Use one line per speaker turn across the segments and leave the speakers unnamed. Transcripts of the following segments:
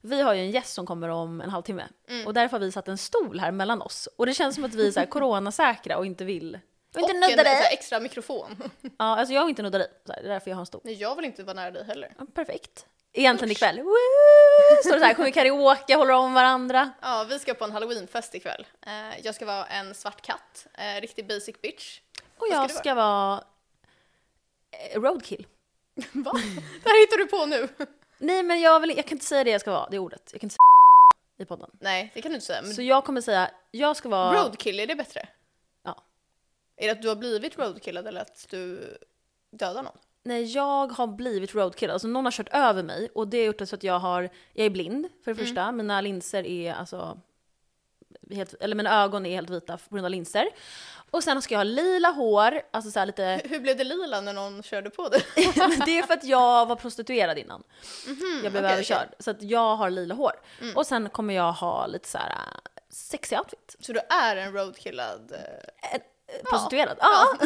vi har ju en gäst som kommer om en halvtimme
Mm.
och därför har vi satt en stol här mellan oss och det känns som att vi är så här coronasäkra och inte vill. Jag vill
Och en
inte nudda
så här
dig.
extra mikrofon.
Ja, alltså jag vill inte nudda dig. Så här, det är därför jag har en stol.
Nej, jag vill inte vara nära dig heller.
Ja, perfekt. Egentligen ikväll. Woo! Står det så här, sjunger karaoke, håller om varandra.
Ja, vi ska på en halloweenfest ikväll. Eh, jag ska vara en svart katt, eh, riktig basic bitch.
Och
Vad ska
jag
du
ska vara eh, roadkill.
Va? Det här hittar du på nu.
Nej men jag, vill, jag kan inte säga det jag ska vara, det ordet. Jag kan inte säga i podden.
Nej, det kan du inte säga. Men
Så jag kommer säga, jag ska vara...
roadkill, är det bättre?
Ja.
Är det att du har blivit roadkillad eller att du dödar någon?
Nej jag har blivit roadkill, alltså någon har kört över mig och det har gjort det så att jag har, jag är blind för det första, mina linser är alltså Helt, eller mina ögon är helt vita på grund av linser. Och sen ska jag ha lila hår, alltså så här lite
Hur blev det lila när någon körde på dig?
Men det är för att jag var prostituerad innan. jag blev
okej,
överkörd. Så att jag har lila hår. Och sen kommer jag ha lite så här äh, sexig outfit.
Så du är en roadkillad... eh,
Äh, Prostituerad. Ja.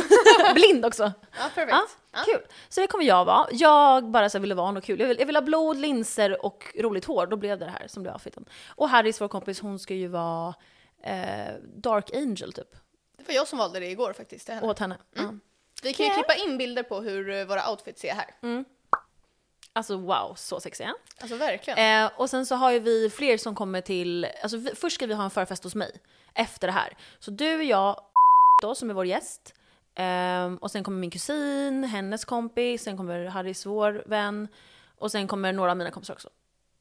Blind också.
Ja,
Ja,
perfekt. Ja.
kul. Så det kommer jag vara. Jag bara så här ville vara något kul. Jag vill, jag vill ha blod, linser och roligt hår. Då blev det det här som blev outfiten. Och Harrys, vår kompis, hon ska ju vara eh, Dark Angel typ.
Det var jag som valde det igår faktiskt. Det hände.
Åt henne.
Mm.
Ja.
Vi kan ju
Ja.
klippa in bilder på hur eh, våra outfits är här.
Mm. Alltså wow, så sexiga.
Alltså verkligen.
Eh, och sen så har ju vi fler som kommer till, alltså vi, först ska vi ha en förfest hos mig efter det här. Så du och jag, då, som är vår gäst, ehm, och sen kommer min kusin, hennes kompis, sen kommer Harrys vår vän, och sen kommer några av mina kompisar också.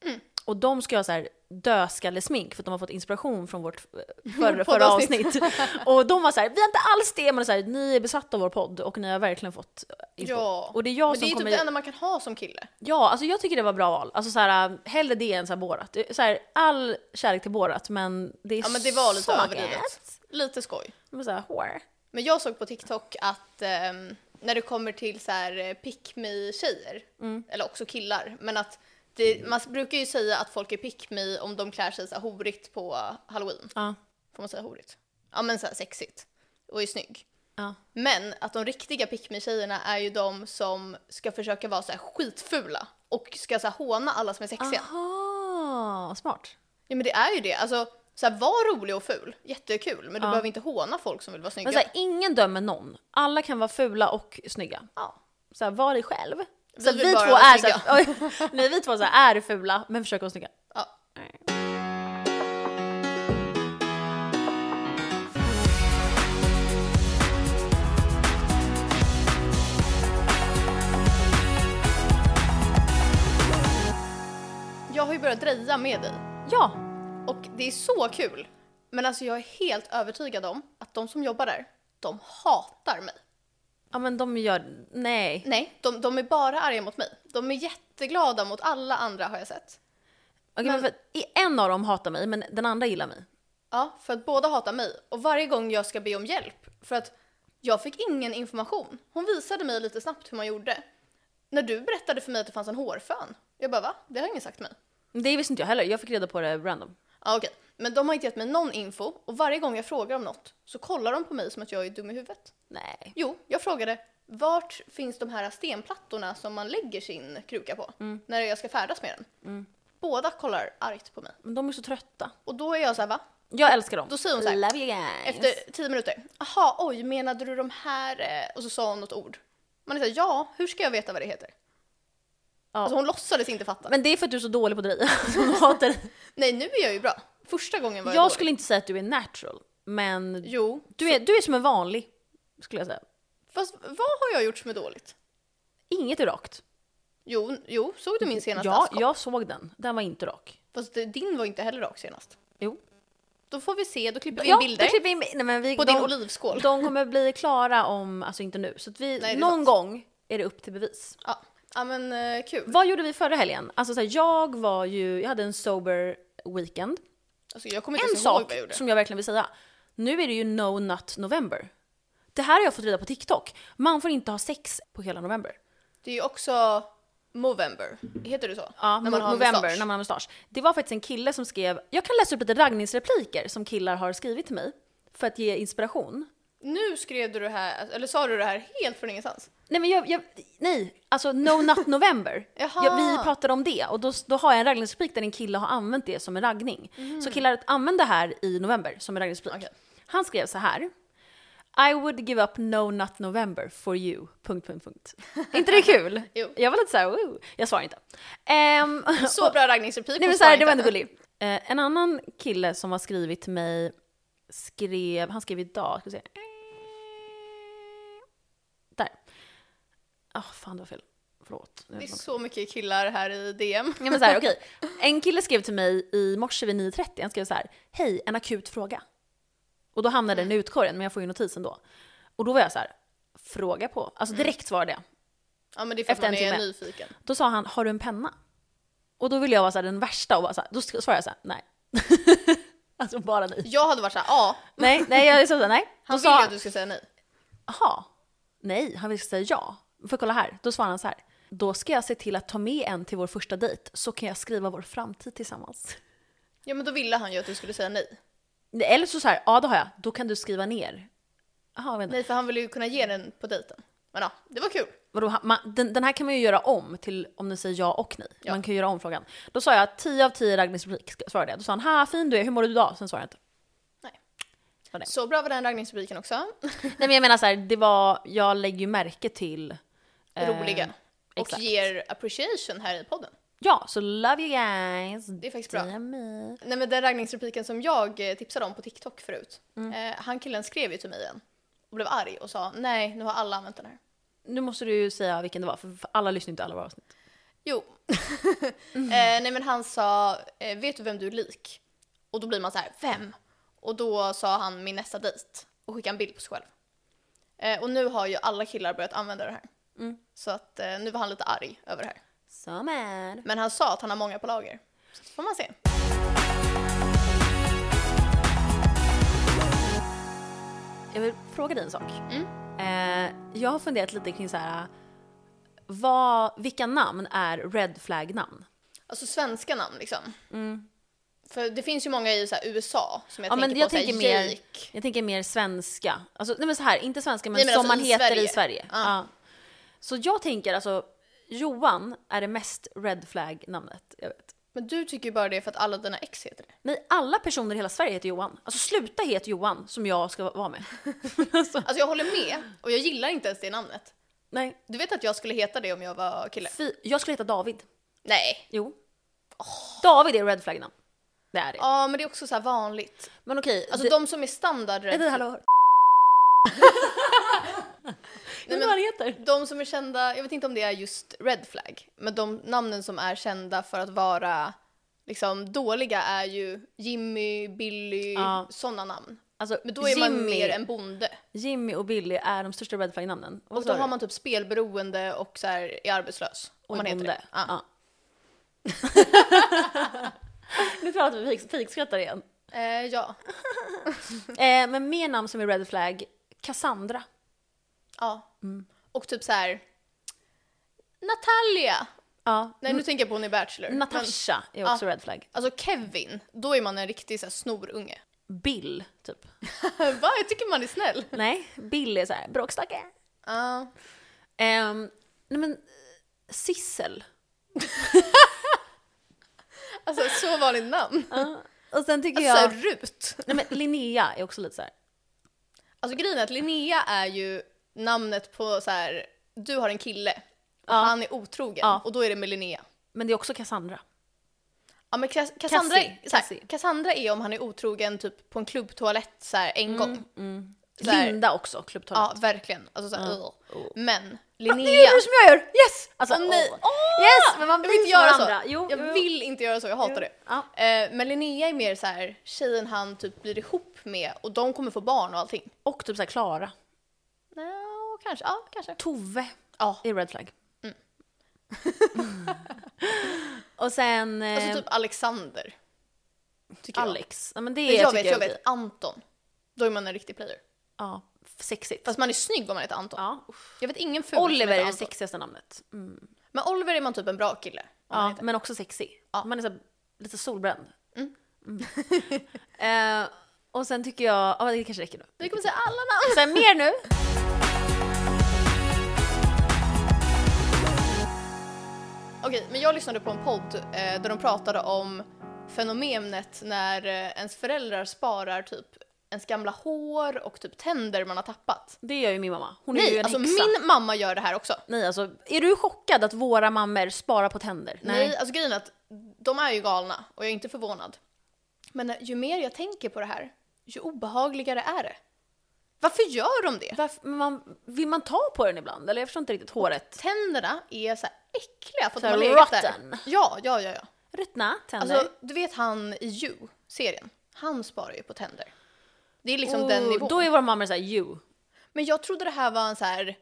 Mm.
Och de ska ha så här dödskallesmink för att de har fått inspiration från vårt eh, förra, förra
Poddavsnitt.
avsnitt. Och de var så här, vi har inte alls det, men så här, ni är besatta av vår podd och ni har verkligen fått inspo.
Ja.
Och det är jag
Men det
som
är ju typ
kommer...
det enda man kan ha som kille.
Ja, alltså jag tycker det var bra val. Alltså så här, hellre det än så här Borat. Det är Så här, all kärlek till Borat, men det är
Ja men det var lite
så
överdrivet. Lite skoj.
Men så här, hår.
Men jag såg på TikTok att ehm, när det kommer till så här eh, pick me tjejer,
Mm.
eller också killar, men att det, man brukar ju säga att folk är pick me om de klär sig så här horigt på halloween.
Ja,
Får man säga horigt? Ja men så här sexigt och är snygg.
ja.
Men att de riktiga pick me tjejerna är ju de som ska försöka vara så här skitfula och ska så här håna alla som är sexiga.
Aha, smart.
Ja men det är ju det, alltså så här, var rolig och ful, jättekul, men du
Ja.
behöver inte håna folk som vill vara snygga.
Men så här, ingen dömer någon. Alla kan vara fula och snygga.
ja.
Så här, var dig själv.
Vi
Så vi,
vill
vi två
bara vara
är så här, oj, nej, vi två så här, är fula, men försöker vara snygga.
ja. Jag har ju börjat dreja med dig
Ja,
och det är så kul. Men alltså jag är helt övertygad om att de som jobbar där, de hatar mig.
ja men de gör, nej.
Nej, de, de är bara arga mot mig. De är jätteglada mot alla andra har jag sett.
Okej, men, för, en av dem hatar mig, men den andra gillar mig.
Ja, för att båda hatar mig. Och varje gång jag ska be om hjälp, för att jag fick ingen information. Hon visade mig lite snabbt hur man gjorde. När du berättade för mig att det fanns en hårfön, jag bara va? Det har ingen sagt till mig.
Det visste inte jag heller, jag fick reda på det random.
Ja okej, men de har inte gett mig någon info och varje gång jag frågar om något så kollar de på mig som att jag är dum i huvudet.
Nej.
Jo, jag frågade vart finns de här stenplattorna som man lägger sin kruka på när jag ska färdas med den? Båda kollar argt på mig.
Men de är så trötta.
Och då är jag så här va?
Jag älskar dem.
Då säger hon så här,
Love you guys.
Efter tio minuter. Aha, oj, menade du de här? eh?" Och så sa hon något ord. Man är såhär, ja, hur ska jag veta vad det heter?
Ja.
Alltså hon låtsades inte fatta.
Men det är för att du är så dålig på att dreja. Hon hatar dig.
Nej, nu är jag ju bra. Första gången var jag,
Jag
dålig.
skulle inte säga att du är natural, men
Jo,
du är, du är som en vanlig, skulle jag säga.
fast vad har jag gjort som är dåligt?
Inget är rakt.
Jo, jo såg du min senaste
Ja,
askkopp?
jag såg den. Den var inte rak.
Fast det- din var inte heller rak senast.
Jo.
Då får vi se, då klipper vi in
Ja,
bilder
då klipper vi in, nej, men vi,
på
de,
din olivskål.
De kommer bli klara om, alltså inte nu, så att vi,
Nej, det är
någon
sant.
gång är det upp till bevis.
Ja. ja, men eh, kul.
Vad gjorde vi förra helgen? Alltså så här, jag var ju, jag hade en sober weekend.
Alltså, jag kommer inte
en
ens ihåg
sak
vad jag gjorde.
som jag verkligen vill säga. Nu är det ju no nut november. Det här har jag fått reda på TikTok. Man får inte ha sex på hela november.
Det är ju också Movember, heter det så?
Ja,
När man har
november,
mustasch.
när man har mustasch. Det var faktiskt en kille som skrev, jag kan läsa upp lite raggningsrepliker som killar har skrivit till mig för att ge inspiration.
Nu skrev du det här, eller sa du det här helt från ingenstans?
Nej, men jag, jag, nej, alltså No Nut November.
Jaha.
jag, vi pratade om det och då, då har jag en raggningsreplik där en kille har använt det som en raggning. Så killar, använd det här i november som en raggningsreplik.
Mm. Okej.
Han skrev så här. I would give up No Nut November for you. Punkt, punkt, punkt. Är inte det kul?
Jo.
Jag var lite så här, woo. jag svarar inte. Ehm,
Så bra
Nej
raggningsreplik. hon
men så här,
svarar
det var ändå
inte.
gullig. Eh, en annan kille som har skrivit till mig skrev, han skrev idag, ska vi se. Där. Ah fan det var fel. Förlåt. Nu
Det är
något-
så mycket killar här i DM.
Ja, men så här, okej. En kille skrev till mig i morse vid 9.30, han skrev så här, hej, en akut fråga. Och då hamnade den i utkorgen, men jag får ju notis ändå. Och då var jag så här, fråga på. Alltså direkt svarade jag.
Ja men det är för att
Efter
man
en
är
timme.
nyfiken.
Då sa han, har du en penna? Och då ville jag vara så här, den värsta och bara så här, då svarade jag så här, nej. alltså bara nej.
Jag hade varit såhär, ja.
Nej, nej, jag sa så här, nej.
Han
då
ville
sa
att du skulle säga nej.
jaha, nej, han ville säga ja. För kolla här, då svarade han så här. Då ska jag se till att ta med en till vår första dejt så kan jag skriva vår framtid tillsammans.
Ja men då ville han ju att du skulle säga nej.
Eller så så här, ja det har jag, då kan du skriva ner. Jaha, jag vet inte.
Nej för han ville ju kunna ge den på dejten. Men ja, det var kul.
Vadå, han- man, den, den här kan man ju göra om till om den säger ja och nej.
Ja.
Man kan ju göra om frågan. Då sa jag 10 av 10 Ragnhilds replik, ska- svarade jag. Då sa han, ha fin du är, hur mår du idag? Sen svarade jag inte.
Så bra var den raggningsrepliken också.
Nej men jag menar så här, det var, jag lägger ju märke till... eh,
Roliga. Och
exakt.
ger appreciation här i podden.
Ja, så love you guys.
Det är faktiskt bra.
DM me.
Nej men den raggningsrepliken som jag eh, tipsade om på TikTok förut.
Mm.
Eh, han killen skrev ju till mig igen. Och blev arg och sa nej nu har alla använt den här.
Nu måste du ju säga vilken det var, för för alla lyssnar inte alla våra avsnitt.
Jo.
Mm.
eh, nej men han sa, eh, vet du vem du är lik? Och då blir man så här, vem? Och då sa han min nästa dejt och skickade en bild på sig själv. Eh, och nu har ju alla killar börjat använda det här.
Mm.
Så att eh, nu var han lite arg över det här.
So mad.
Men han sa att han har många på lager. Så får man se.
Jag vill fråga dig en sak.
Mm.
Eh, jag har funderat lite kring så här, vad, vilka namn är red flag-namn?
Alltså svenska namn liksom. För det finns ju många i så här, USA som jag
Mm. Ja,
tänker
men
på.
jag
så
tänker
här,
mer-
Jake.
Jag tänker mer svenska. Alltså, nej men så här, inte svenska men,
Nej, men
som
alltså
man
i
heter
Sverige.
i Sverige.
Ja.
Ja. Så jag tänker alltså, Johan är det mest red flag-namnet jag vet.
Men du tycker ju bara det för att alla dina ex heter det.
Nej, alla personer i hela Sverige heter Johan. Alltså sluta heta Johan som jag ska vara med. alltså,
Alltså jag håller med och jag gillar inte ens det namnet.
nej.
Du vet att jag skulle heta det om jag var kille?
Fy, jag skulle heta David.
Nej.
Jo. David är red flag-namn. Det är det.
Ja, men det är också så här vanligt.
Men okej.
Alltså
det-
de som är standard
är
red
vi
flag,
hallå?
Nej,
Nej,
men-
vad han heter.
de som är kända, jag vet inte om det är just red flag, men de namnen som är kända för att vara liksom dåliga är ju Jimmy, Billy,
Ja.
sådana namn.
Alltså,
Men då är man
Jimmy-
mer en bonde.
Jimmy och Billy är de största red flag-namnen.
Och då har man typ spelberoende och så här är arbetslös. Om
Och
man
man
heter
bonde.
det. Ja.
nu tror jag att vi fik- fikskrattar igen.
Eh, ja.
Eh, men mer namn som är red flag, Cassandra.
ja.
Mm.
Och typ så här. Natalia!
Ja.
Nej, nu tänker jag på hon i Bachelor. Men-
Mm. Natasha är också red flag.
Alltså Kevin, då är man en riktig så här, snorunge.
Bill, typ.
Va? Jag tycker man är snäll.
Nej, Bill är så här bråkstake.
Ja.
Ehm, nej men, Sissel.
Alltså så vanligt namn. Alltså
Och sen tycker
så
jag...
här, Rut.
Alltså, Nej men Linnea är också lite så här.
Alltså grejen är att Linnea är ju namnet på så här. du har en kille och
Ja.
han är otrogen
Ja.
och då är det med Linnea.
Men det är också Cassandra.
Ja men Cas- Cassandra,
Cassie,
så här,
Cassie.
Cassandra är om han är otrogen typ på en klubbtoalett så här,
Mm,
en gång. Så här,
Linda också, klubbtoalett.
Ja verkligen. Alltså så här, ugh.
Ah,
Men
Nu gör
Linnea.
du som jag gör! Yes! Alltså,
Åh, nej.
åh.
Åh!
Yes! Men man
Jag
blir
vill inte
som
göra så.
varandra. Jo, jo,
jag
jo.
vill inte göra så, jag hatar det.
Ja.
Eh, men Linnea är mer så här, tjejen han typ blir ihop med och de kommer få barn och allting.
Och typ såhär Klara.
No, kanske, ja kanske.
Tove
Ja.
är red flag. och sen eh,
Alltså typ Alexander. Tycker
Alex. Ja, men det
jag. Men jag
tycker typ.
vet, jag
är okej.
vet. Anton. Då är man en riktig player.
Ja, sexigt.
Fast man är snygg om man heter Anton.
ja.
Jag vet ingen ful som
Oliver
heter
är det
Anton.
sexigaste namnet. Mm.
Men alltså- Oliver är man typ en bra kille. om man
Ja,
heter.
men också sexig.
Ja.
Man är så här, lite solbränd. Mm. Eh, Och sen tycker jag, ja det kanske räcker nu.
Vi kommer säga alla namn.
Sen mer nu.
Okej, men jag lyssnade på en podd eh, där de pratade om fenomenet när eh, ens föräldrar sparar typ ens gamla hår och typ tänder man har tappat.
Det gör ju min mamma. Hon är ju
Nej,
en
alltså
häxa.
min mamma gör det här också.
Nej alltså, är du chockad att våra mammor sparar på tänder?
Nej. alltså grejen är att de är ju galna och jag är inte förvånad. Men eh, ju mer jag tänker på det här, ju obehagligare är det. Varför gör de det?
Varför, men man, vill man ta på den ibland? Eller jag förstår inte riktigt håret.
Tänderna är så här äckliga för att
Så
de
här
har legat där.
rotten.
Ja, ja, ja, ja.
Ruttna tänder.
Alltså, du vet han i You-serien? Han sparar ju på tänder. Det är liksom den
Och
nivån.
Oh, Då är våra mammor såhär you.
Men jag trodde det här var en så här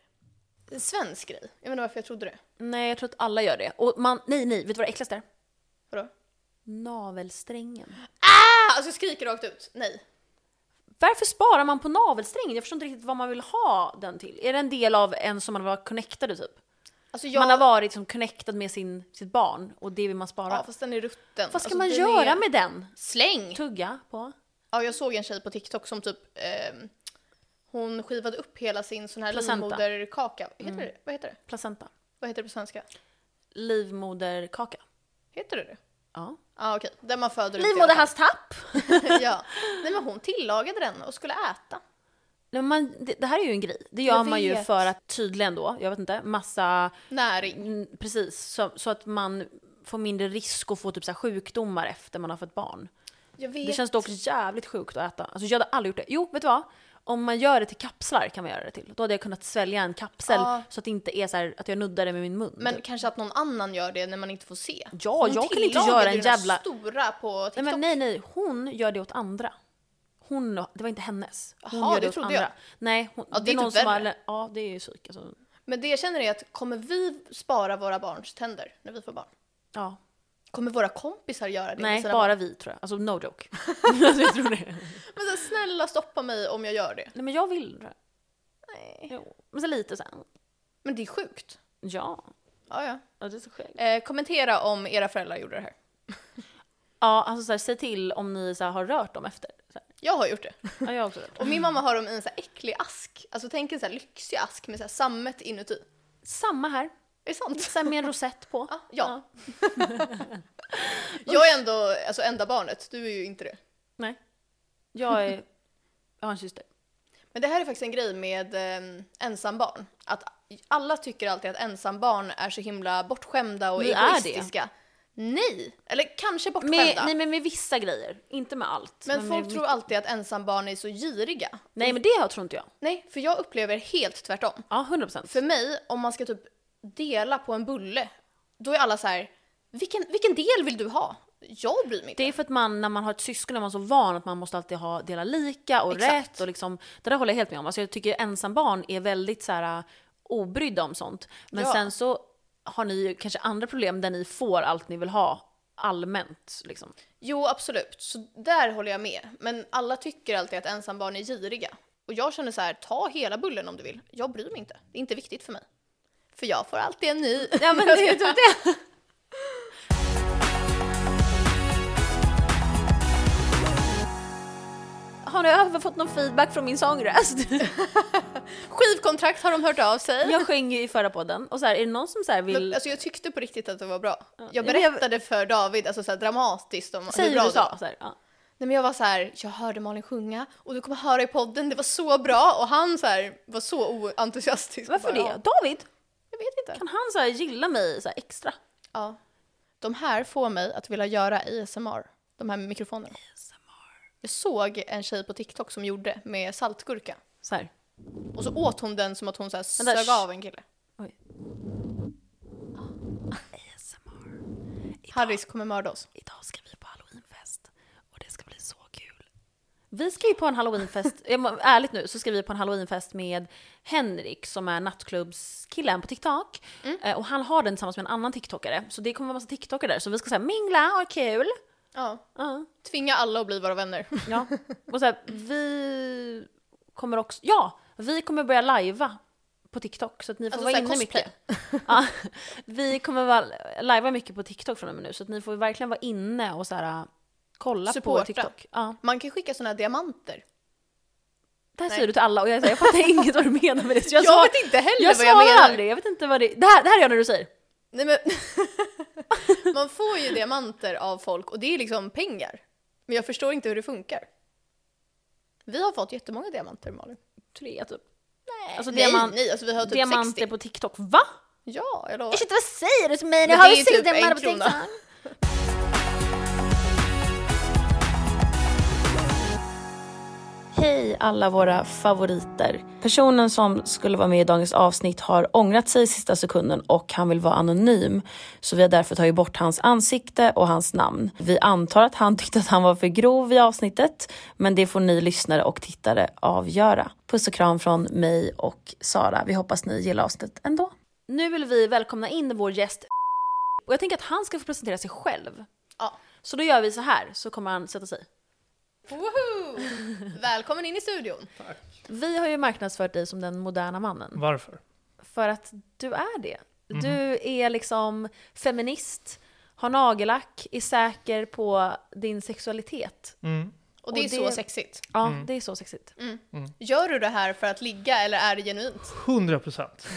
en svensk grej. Jag vet inte varför jag trodde det.
Nej jag tror att alla gör det. Och man, nej nej, vet du vad det äckligaste är?
Vadå?
Navelsträngen.
Ah, alltså jag skriker rakt ut. Nej.
Varför sparar man på navelsträngen? Jag förstår inte riktigt vad man vill ha den till. Är det en del av en som man var connectad typ?
Alltså jag...
Man har varit som connectad med sin, sitt barn och det vill man spara.
Ja, fast den är rutten.
vad ska
Alltså,
man
den
göra
är-
med den?
Släng!
Tugga på?
Ja, jag såg en tjej på TikTok som typ... ehm, hon skivade upp hela sin sån här
Placenta. Mm.
livmoderkaka. Heter det, vad heter det?
Placenta?
Vad heter det på svenska?
Livmoderkaka?
Heter det det?
Ja.
Ja, okej. Där man föder ut i alla fall.
Livmoderhalstapp?
ja. Nej men hon tillagade den och skulle äta.
Nej, Man, det, det här är ju en grej. Det
Jag
gör man ju
vet.
för att tydligen då, jag vet inte, massa,
Näring.
mm, precis, så, så att man får mindre risk att få typ så här sjukdomar efter man har fått barn.
Jag
Det
vet.
känns dock jävligt sjukt att äta. Alltså jag hade aldrig gjort det. Jo, vet du vad? Om man gör det till kapslar kan man göra det till. Då hade jag kunnat svälja en kapsel
Ja.
så att det inte är så här att jag nuddar det med min mun. typ.
Men kanske att någon annan gör det när man inte får se.
Ja,
Hon
jag kan inte
tillagade
göra en
ju den här
jävla-
stora på TikTok.
nej, men nej, nej, hon gör det åt andra. Hon, det var inte hennes. Hon
Jaha,
gör
det
det åt
trodde
andra.
jag.
Nej, hon,
Ja,
det,
det
är
är
någon
typ
som har,
värre.
Ja, det är ju psyk alltså.
Men det jag känner är att kommer vi spara våra barns tänder när vi får barn?
Ja.
Kommer våra kompisar göra det?
Nej,
med sina
bara vi tror jag. Alltså no joke. alltså, jag tror det.
barn? Men så, snälla stoppa mig om jag gör det.
Nej men jag vill det.
Nej.
Jo. Men så lite sen.
Men det är sjukt.
Ja.
Ja, ja.
Ja, det är så sjukt.
Eh, kommentera om era föräldrar gjorde det här.
Ja, alltså så här, säg till om ni så här, har rört dem efter. Så här.
Jag har gjort det.
Ja, jag har också rört dem.
Och min mamma har dem i en så här äcklig ask. Alltså tänk en så här lyxig ask med så här sammet inuti. Är
Samma här.
det sant?
Sen med en rosett på.
Ja. ja. jag är ändå alltså, enda barnet, du är ju inte det.
Nej. Jag är... Jag har en syster.
Men det här är faktiskt en grej med eh, ensambarn. Att alla tycker alltid att ensambarn är så himla bortskämda och
Vi är
egoistiska. Nej! Eller kanske
Med,
bortskämda.
nej men med vissa grejer. Inte med allt.
men folk
med,
tror alltid att ensambarn är så giriga.
Nej men det har- tror inte jag.
Nej, för jag upplever helt tvärtom.
Ja, 100 procent.
För mig, om man ska typ dela på en bulle, då är alla så här, vilken, vilken del vill du ha? Jag bryr mig inte.
Det är för att man, när man har ett syskon är man så van att man måste alltid ha, dela lika och
Exakt.
rätt. Och liksom, det där håller jag helt med om. Alltså jag tycker ensambarn är väldigt så här, äh, obrydda om sånt. Men
Ja.
sen så har ni ju kanske andra problem där ni får allt ni vill ha allmänt. Liksom.
Jo, absolut. Så där håller jag med. Men alla tycker alltid att ensambarn är giriga. Och jag känner så här, ta hela bullen om du vill. Jag bryr mig inte. Det är inte viktigt för mig. För jag får alltid en ny.
Ja, men det är typ det. Har ni över fått någon feedback från min sångröst?
Skivkontrakt har de hört av sig.
Jag sjöng ju i förra podden och så här, är det någon som så här vill...
Men, alltså, jag tyckte på riktigt att det var bra. Jag
men jag-
berättade för David, alltså så här, dramatiskt om
Säg
hur bra
hur du
det var.
sa. Så här, ja.
Nej men jag var så här, jag hörde Malin sjunga och du kommer höra i podden, det var så bra. Och han så här var så oentusiastisk.
Varför
Bara,
det?
"Ja,
David?
Jag vet inte.
Kan han så här gilla mig så här extra?
Ja. De här får mig att vilja göra ASMR. De här mikrofonerna. Jag såg en tjej på TikTok som gjorde med saltgurka.
Så här.
Och så åt hon den som att hon så här
Vänta,
sög
sh-
av en kille.
Oj.
Harris kommer mörda oss.
Idag ska vi på halloweenfest och det ska bli så kul. Vi ska ju på en halloweenfest, jag må- ärligt nu, så ska vi på en halloweenfest med Henrik som är nattklubbskillen på TikTok.
Mm.
Eh, Och han har den tillsammans med en annan TikTokare. Så det kommer vara massa TikTokare där. Så vi ska säga mingla och ha kul.
Ja.
Ja.
Tvinga alla att bli våra vänner.
Ja. Och så här, vi kommer också, ja! Vi kommer börja lajva på TikTok så att ni får
Alltså
vara
så här
inne
cosplay.
mycket. Ja, vi kommer vara, lajva mycket på TikTok från och med nu så att ni får verkligen vara inne och så här Kolla
Supporta.
på TikTok. Ja.
Man kan skicka såna här diamanter.
Det här
Nej.
säger du till alla och jag, säger, jag fattar inget vad du menar med det. Så
Jag,
jag sa,
vet inte heller
jag
vad jag menar.
sa aldrig, jag vet inte vad det Det här, det här är jag när du säger.
Nej, men man får ju diamanter av folk och det är liksom pengar. Men jag förstår inte hur det funkar. Vi har fått jättemånga diamanter Malin.
Tre typ. Nej, alltså,
nej,
diamant,
nej, alltså vi har typ
diamanter
60.
på TikTok. Va?
Ja, jag lovar.
Shit vad säger du till mig?
Men
Jag har ju
det är ju
sex
typ en
diamanter på
krona.
TikTok. Hej alla våra favoriter. Personen som skulle vara med i dagens avsnitt har ångrat sig i sista sekunden och han vill vara anonym. Så vi har därför tagit bort hans ansikte och hans namn. Vi antar att han tyckte att han var för grov i avsnittet, men det får ni lyssnare och tittare avgöra. Puss och kram från mig och Sara. Vi hoppas ni gillar avsnittet ändå. Nu vill vi välkomna in vår gäst och jag tänker att han ska få presentera sig själv.
Ja.
Så då gör vi så här, så kommer han sätta sig.
Woho! Välkommen in i studion.
Vi har ju marknadsfört dig som den moderna mannen.
Varför?
För att du är det. Du är liksom feminist, har nagellack, är säker på din sexualitet.
Mm.
Och det är
Och det-
så sexigt.
Ja, det är så sexigt.
Gör du det här för att ligga eller är det genuint?
100 procent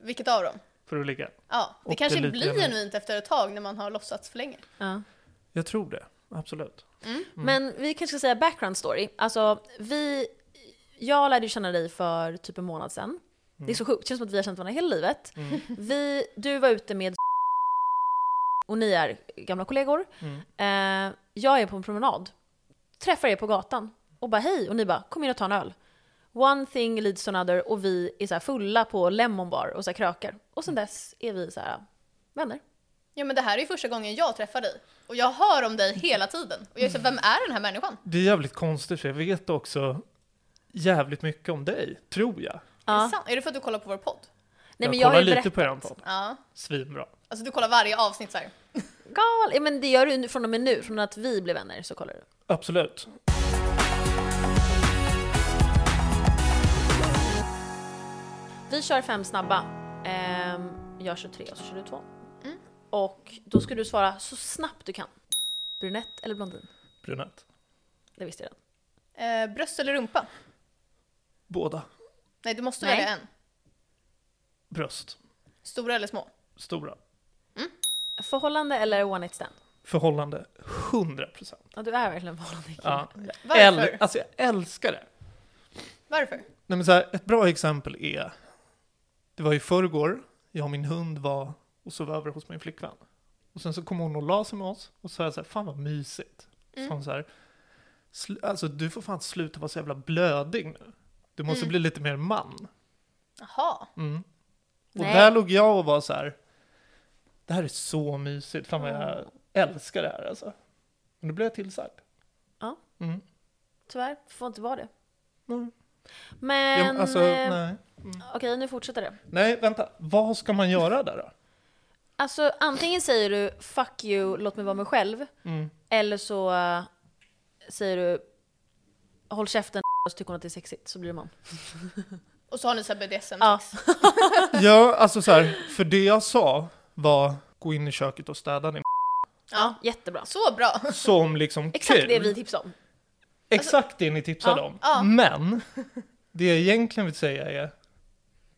Vilket av dem?
för att ligga.
Ja, det
Och
kanske
det är lite
blir
genuint.
genuint efter ett tag när man har låtsats för länge.
Ja.
Jag tror det, absolut.
Men vi kanske ska säga background story. Alltså, vi, jag lärde ju känna dig för typ en månad sedan. Det är så sjukt, det känns som att vi har känt varandra hela livet.
Mm.
Vi, du var ute med och ni är gamla kollegor.
Mm.
Eh, jag är på en promenad, träffar er på gatan och bara hej och ni bara kom in och ta en öl. One thing leads to another och vi är så här fulla på Lemon Bar och så här krökar. Och sen dess är vi så här vänner.
Ja men det här är ju första gången jag träffar dig. Och jag hör om dig hela tiden. Och jag är så, vem är den här människan?
Det är jävligt konstigt för jag vet också jävligt mycket om dig, tror jag.
Ja.
Är, det sant? är det för att du kollar på vår podd?
Nej, men
jag
jag har
kollar
ju
lite
berättat.
på er podd.
Ja.
Svinbra.
Alltså du kollar varje avsnitt så här.
Gal. Ja, men det gör du nu- från och med nu, från att vi blev vänner så kollar du.
Absolut.
Vi kör fem snabba. Ehm, jag kör tre och så kör du två. Och då ska du svara så snabbt du kan. Brunett eller blondin?
Brunett.
Det visste jag redan.
Eh, bröst eller rumpa?
Båda.
Nej, du måste
Nej.
välja en.
Bröst.
Stora eller små?
Stora.
Förhållande eller one night stand?
Förhållande 100 procent.
Ja, du är verkligen förhållande.
Ja.
Varför?
Äl- alltså jag älskar det.
Varför?
Nej, men så här, ett bra exempel är, det var i förrgår, jag och min hund var och sov över hos min flickvän. Och sen så kom hon och la sig med oss och sa så här, fan vad mysigt. Mm. Så hon så här, "Sl- alltså du får fan sluta vara så jävla blödig nu. Du
Mm.
måste bli lite mer man.
Jaha.
Mm. Och
Nej.
där låg jag och var så här, det här är så mysigt, fan vad jag
Mm.
älskar det här alltså. Men då blev jag tillsagd.
Ja.
Mm.
Tyvärr, får inte vara det.
Mm.
Men...
Jag, alltså,
eh,
nej.
Okej, nu fortsätter det.
nej, vänta, vad ska man göra där då?
Alltså, antingen säger du 'fuck you, låt mig vara mig själv'
Mm.
eller så eh, säger du 'håll käften och så tycker hon att det är sexigt' så blir man.
Och så har ni så här BDSM.
Ja.
Ja, alltså så här, för det jag sa var gå in i köket och städa din
ja, jättebra.
Så bra.
Som liksom
Exakt
kul.
det vi tipsade om.
Exakt det ni tipsade
Ja,
om.
ja.
Men, det jag egentligen vill säga är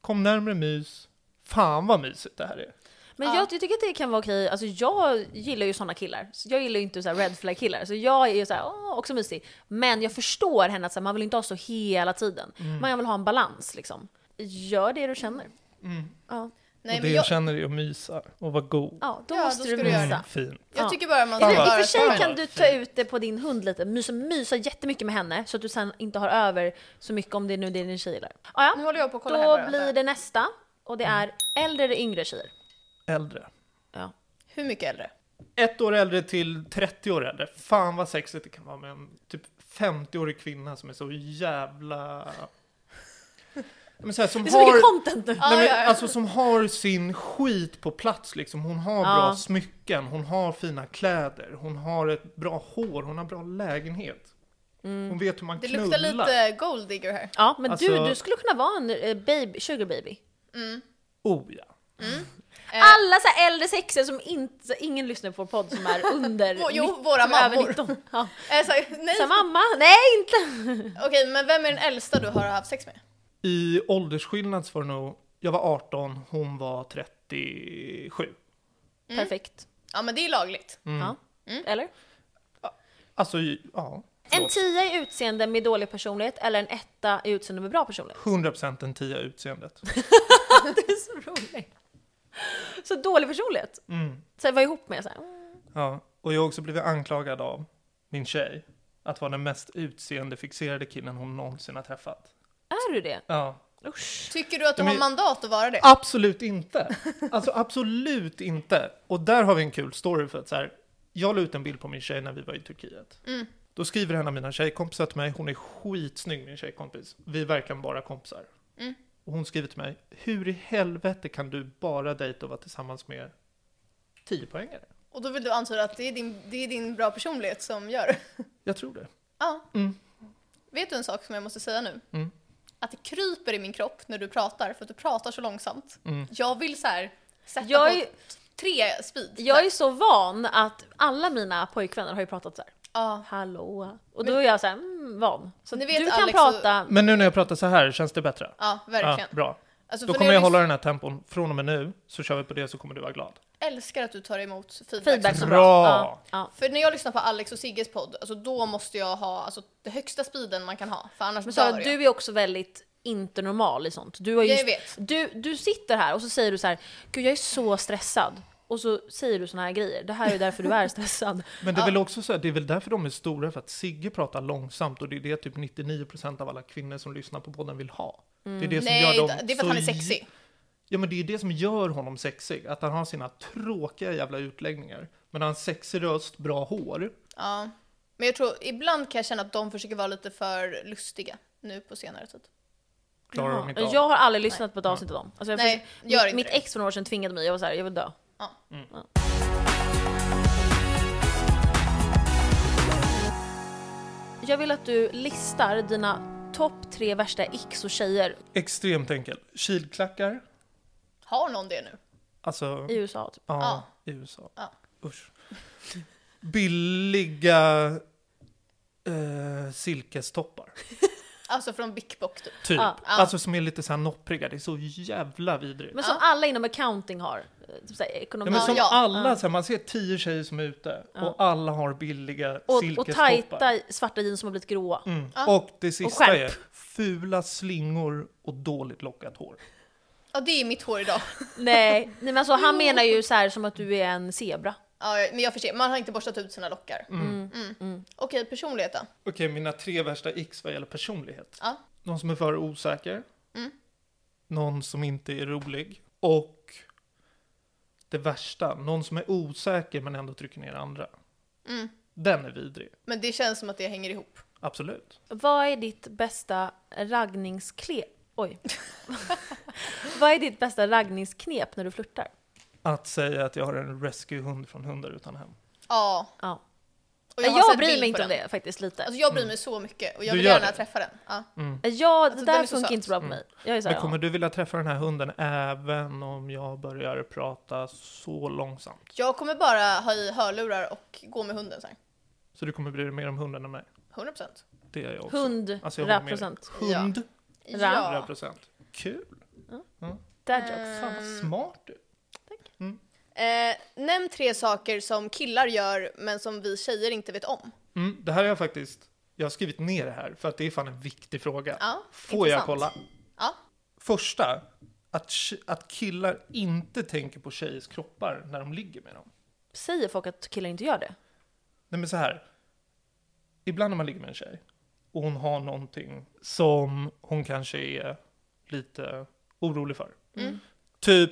kom närmare mys, fan vad mysigt det här är.
Men
Ja.
jag, jag tycker att det kan vara okej, alltså jag gillar ju såna killar. Så Jag gillar ju inte så här red flag killar, så jag är ju så här, åh, också mysig. Men jag förstår henne att så här, man vill inte ha så hela tiden. Man vill ha en balans liksom. Gör det du känner. Ja.
Nej,
och det
men
jag...
jag,
känner är att mysa och vara god. Mm,
ja, då
Ja, då
måste
ska
du
du göra
mysa.
Fin.
Ja.
jag tycker bara man
I,
ska
I och
göra
för
så
sig
här.
kan du ta ut det på din hund lite, mysa, mysa jättemycket med henne så att du sen inte har över så mycket om det är nu det är din tjej gillar. Ah,
Nu
ja.
håller jag på att Mm, kolla här
Då
bara.
blir det nästa och det är äldre eller yngre tjejer.
Äldre.
Ja.
Hur mycket äldre?
Ett år äldre till 30 år äldre. Fan vad sexigt det kan vara med en typ 50-årig kvinna som är så jävla... Men så här, som
Det är så
har...
mycket content nu!
ja,
Nej,
ja.
men, alltså som har sin skit på plats liksom. Hon har
Ja.
bra smycken, hon har fina kläder, hon har ett bra hår, hon har bra lägenhet. Hon vet hur man
Mm. Det
knullar.
luktar lite gold digger här.
Ja, men du,
Alltså-
du skulle kunna vara en eh, baby, sugar baby.
Oh ja.
Eh,
Alla så här äldre sexer som inte, ingen lyssnar på vår podd som är under
Vå- jo,
19,
våra
som är över
mammor.
19. Ja.
eh, så, nej,
Så mamma, nej inte!
okej men vem är den äldsta du har haft sex med?
I åldersskillnad så var det nog, jag var 18, hon var 37.
Mm.
Perfekt.
Ja men det är lagligt.
Ja. Eller?
Mm. Alltså, i- ja.
En tia i utseende med dålig personlighet eller en etta i utseende med bra personlighet?
100% en tia utseendet.
Det är så roligt. Så dålig personlighet?
Mm.
Så jag var ihop med så här. mm.
Ja, och jag har också blivit anklagad av min tjej att vara den mest utseendefixerade killen hon någonsin har träffat.
Är du det?
Ja.
Usch.
Tycker du att du
Men-
har mandat att vara det?
Absolut inte! Alltså absolut inte! Och där har vi en kul story för att så här, jag la ut en bild på min tjej när vi var i Turkiet.
Mm.
Då skriver en av mina tjejkompisar till mig, hon är skitsnygg min tjejkompis, vi är verkligen bara kompisar.
Mm.
Och hon skriver till mig, hur i helvete kan du bara dejta och vara tillsammans med 10 poängare?
Och då vill du antyda att det är din, det är din bra personlighet som gör det?
Jag tror det.
Ja.
Mm.
Vet du en sak som jag måste säga nu?
Mm.
Att det kryper i min kropp när du pratar för att du pratar så långsamt.
Mm.
Jag vill så här sätta
Jag är,
på tre speed.
jag är så van att alla mina pojkvänner har ju pratat så här.
Ja.
Hallå. Och då är jag så här, mm, van. Så
Ni vet,
du kan
Alex och-
prata.
Men nu när jag pratar så här, känns det bättre?
ja, verkligen.
Ja, bra.
Alltså,
Då
för
kommer
när
jag hålla den här tempon från och med nu, så kör vi på det så kommer du vara glad.
älskar att du tar emot feedback. Alltså,
Feedback så bra.
Bra.
Ja, ja.
För när jag lyssnar på Alex och Sigges podd, alltså då måste jag ha alltså, den högsta speeden man kan ha. För annars
Men
dör
Sara,
jag.
du är också väldigt inte normal i sånt. Du, har
Jag
just,
vet.
Du, du sitter här och så säger du så här, gud jag är så stressad. Och så säger du såna här grejer, det här är därför du är stressad.
Men det är väl också så här, det är väl därför de är stora, för att Sigge pratar långsamt och det är det typ 99% av alla kvinnor som lyssnar på podden vill ha. Det är det som
Mm. Nej,
gör dem
det är för
så
att han är
j-
sexig.
Ja men det är ju det som gör honom sexig, att han har sina tråkiga jävla utläggningar. Men han har en sexig röst, bra hår.
Ja. Men jag tror, ibland kan jag känna att de försöker vara lite för lustiga nu på senare tid.
Klarar de inte av.
Jag har aldrig lyssnat på ett avsnitt av dem. Alltså jag
Nej,
försökte-
gör
mitt,
inte
mitt
det.
ex för några år sedan tvingade mig, jag var såhär, jag vill dö.
Ja.
Mm.
Jag vill att du listar dina topp tre värsta icks och tjejer
Extremt enkel. Kilklackar,
Har någon det nu?
alltså
i USA. Typ.
ja,
Ja.
i USA.
Ja.
Usch. Billiga eh, silkestoppar.
Alltså från Big Bock typ.
Typ.
Ja.
Alltså som är lite så här noppriga, det är så jävla vidrigt.
Men som alla inom accounting har. eh, Typ såhär,
Ja,
ekonomi.
men
Ja,
som
ja.
alla, så här, man ser tio tjejer som är ute och alla har billiga
och, och
silkestoppar.
tajta svarta jeans som har blivit gråa.
Mm.
Ja.
Och det sista
skärp.
är fula slingor och dåligt lockat hår.
Ja, det är mitt hår idag.
Nej, nej men alltså han menar ju så här som att du är en zebra.
Ja, jag- men jag förstår, man har inte borstat ut sina lockar. Mm. Okej, personlighet då?
Okej, mina tre värsta x vad gäller personlighet.
Ja.
Någon som är för osäker.
Mm.
Någon som inte är rolig. Och det värsta, någon som är osäker men ändå trycker ner andra.
Mm.
Den är vidrig,
Men det känns som att det hänger ihop.
absolut.
Vad är ditt bästa raggningsknep? Oj. Vad är ditt bästa raggningsknep när du flörtar?
Att säga att jag har en rescuehund från Hundar utan hem.
Ja.
Ja.
Och
Jag,
har sett
bryr mig
bild på
inte om
den.
det faktiskt lite.
Alltså jag bryr mig så mycket och jag
Mm. Du
vill
gör
gärna
det?
träffa den. Ja.
Ja, det
Alltså, den
där
är så
funkar
söt.
inte så bra på mig. Jag är så här,
Mm. Men kommer du vilja träffa den här hunden även om jag börjar prata så långsamt?
Jag kommer bara ha i hörlurar och gå med hunden sen.
Så du kommer bry dig mer om hunden än mig?
100%.
Det gör jag också.
ja. Hund,
Alltså, jag håller med dig.
rapprocent.
Ja.
Hund,
Ja.
100%. procent. Kul!
Dad
Mm.
jokes.
Fan vad smart du
Eh, nämn tre saker som killar gör men som vi tjejer inte vet om.
mm, Det här har jag faktiskt, jag har skrivit ner det här för att det är fan en viktig fråga.
Ja,
Får jag
intressant.
kolla?
Ja.
Första, att, tje- att killar inte tänker på tjejers kroppar när de ligger med dem.
Säger folk att killar inte gör det?
Nej men så här. Ibland när man ligger med en tjej och hon har någonting som hon kanske är lite orolig för.
Mm.
Mm.
Typ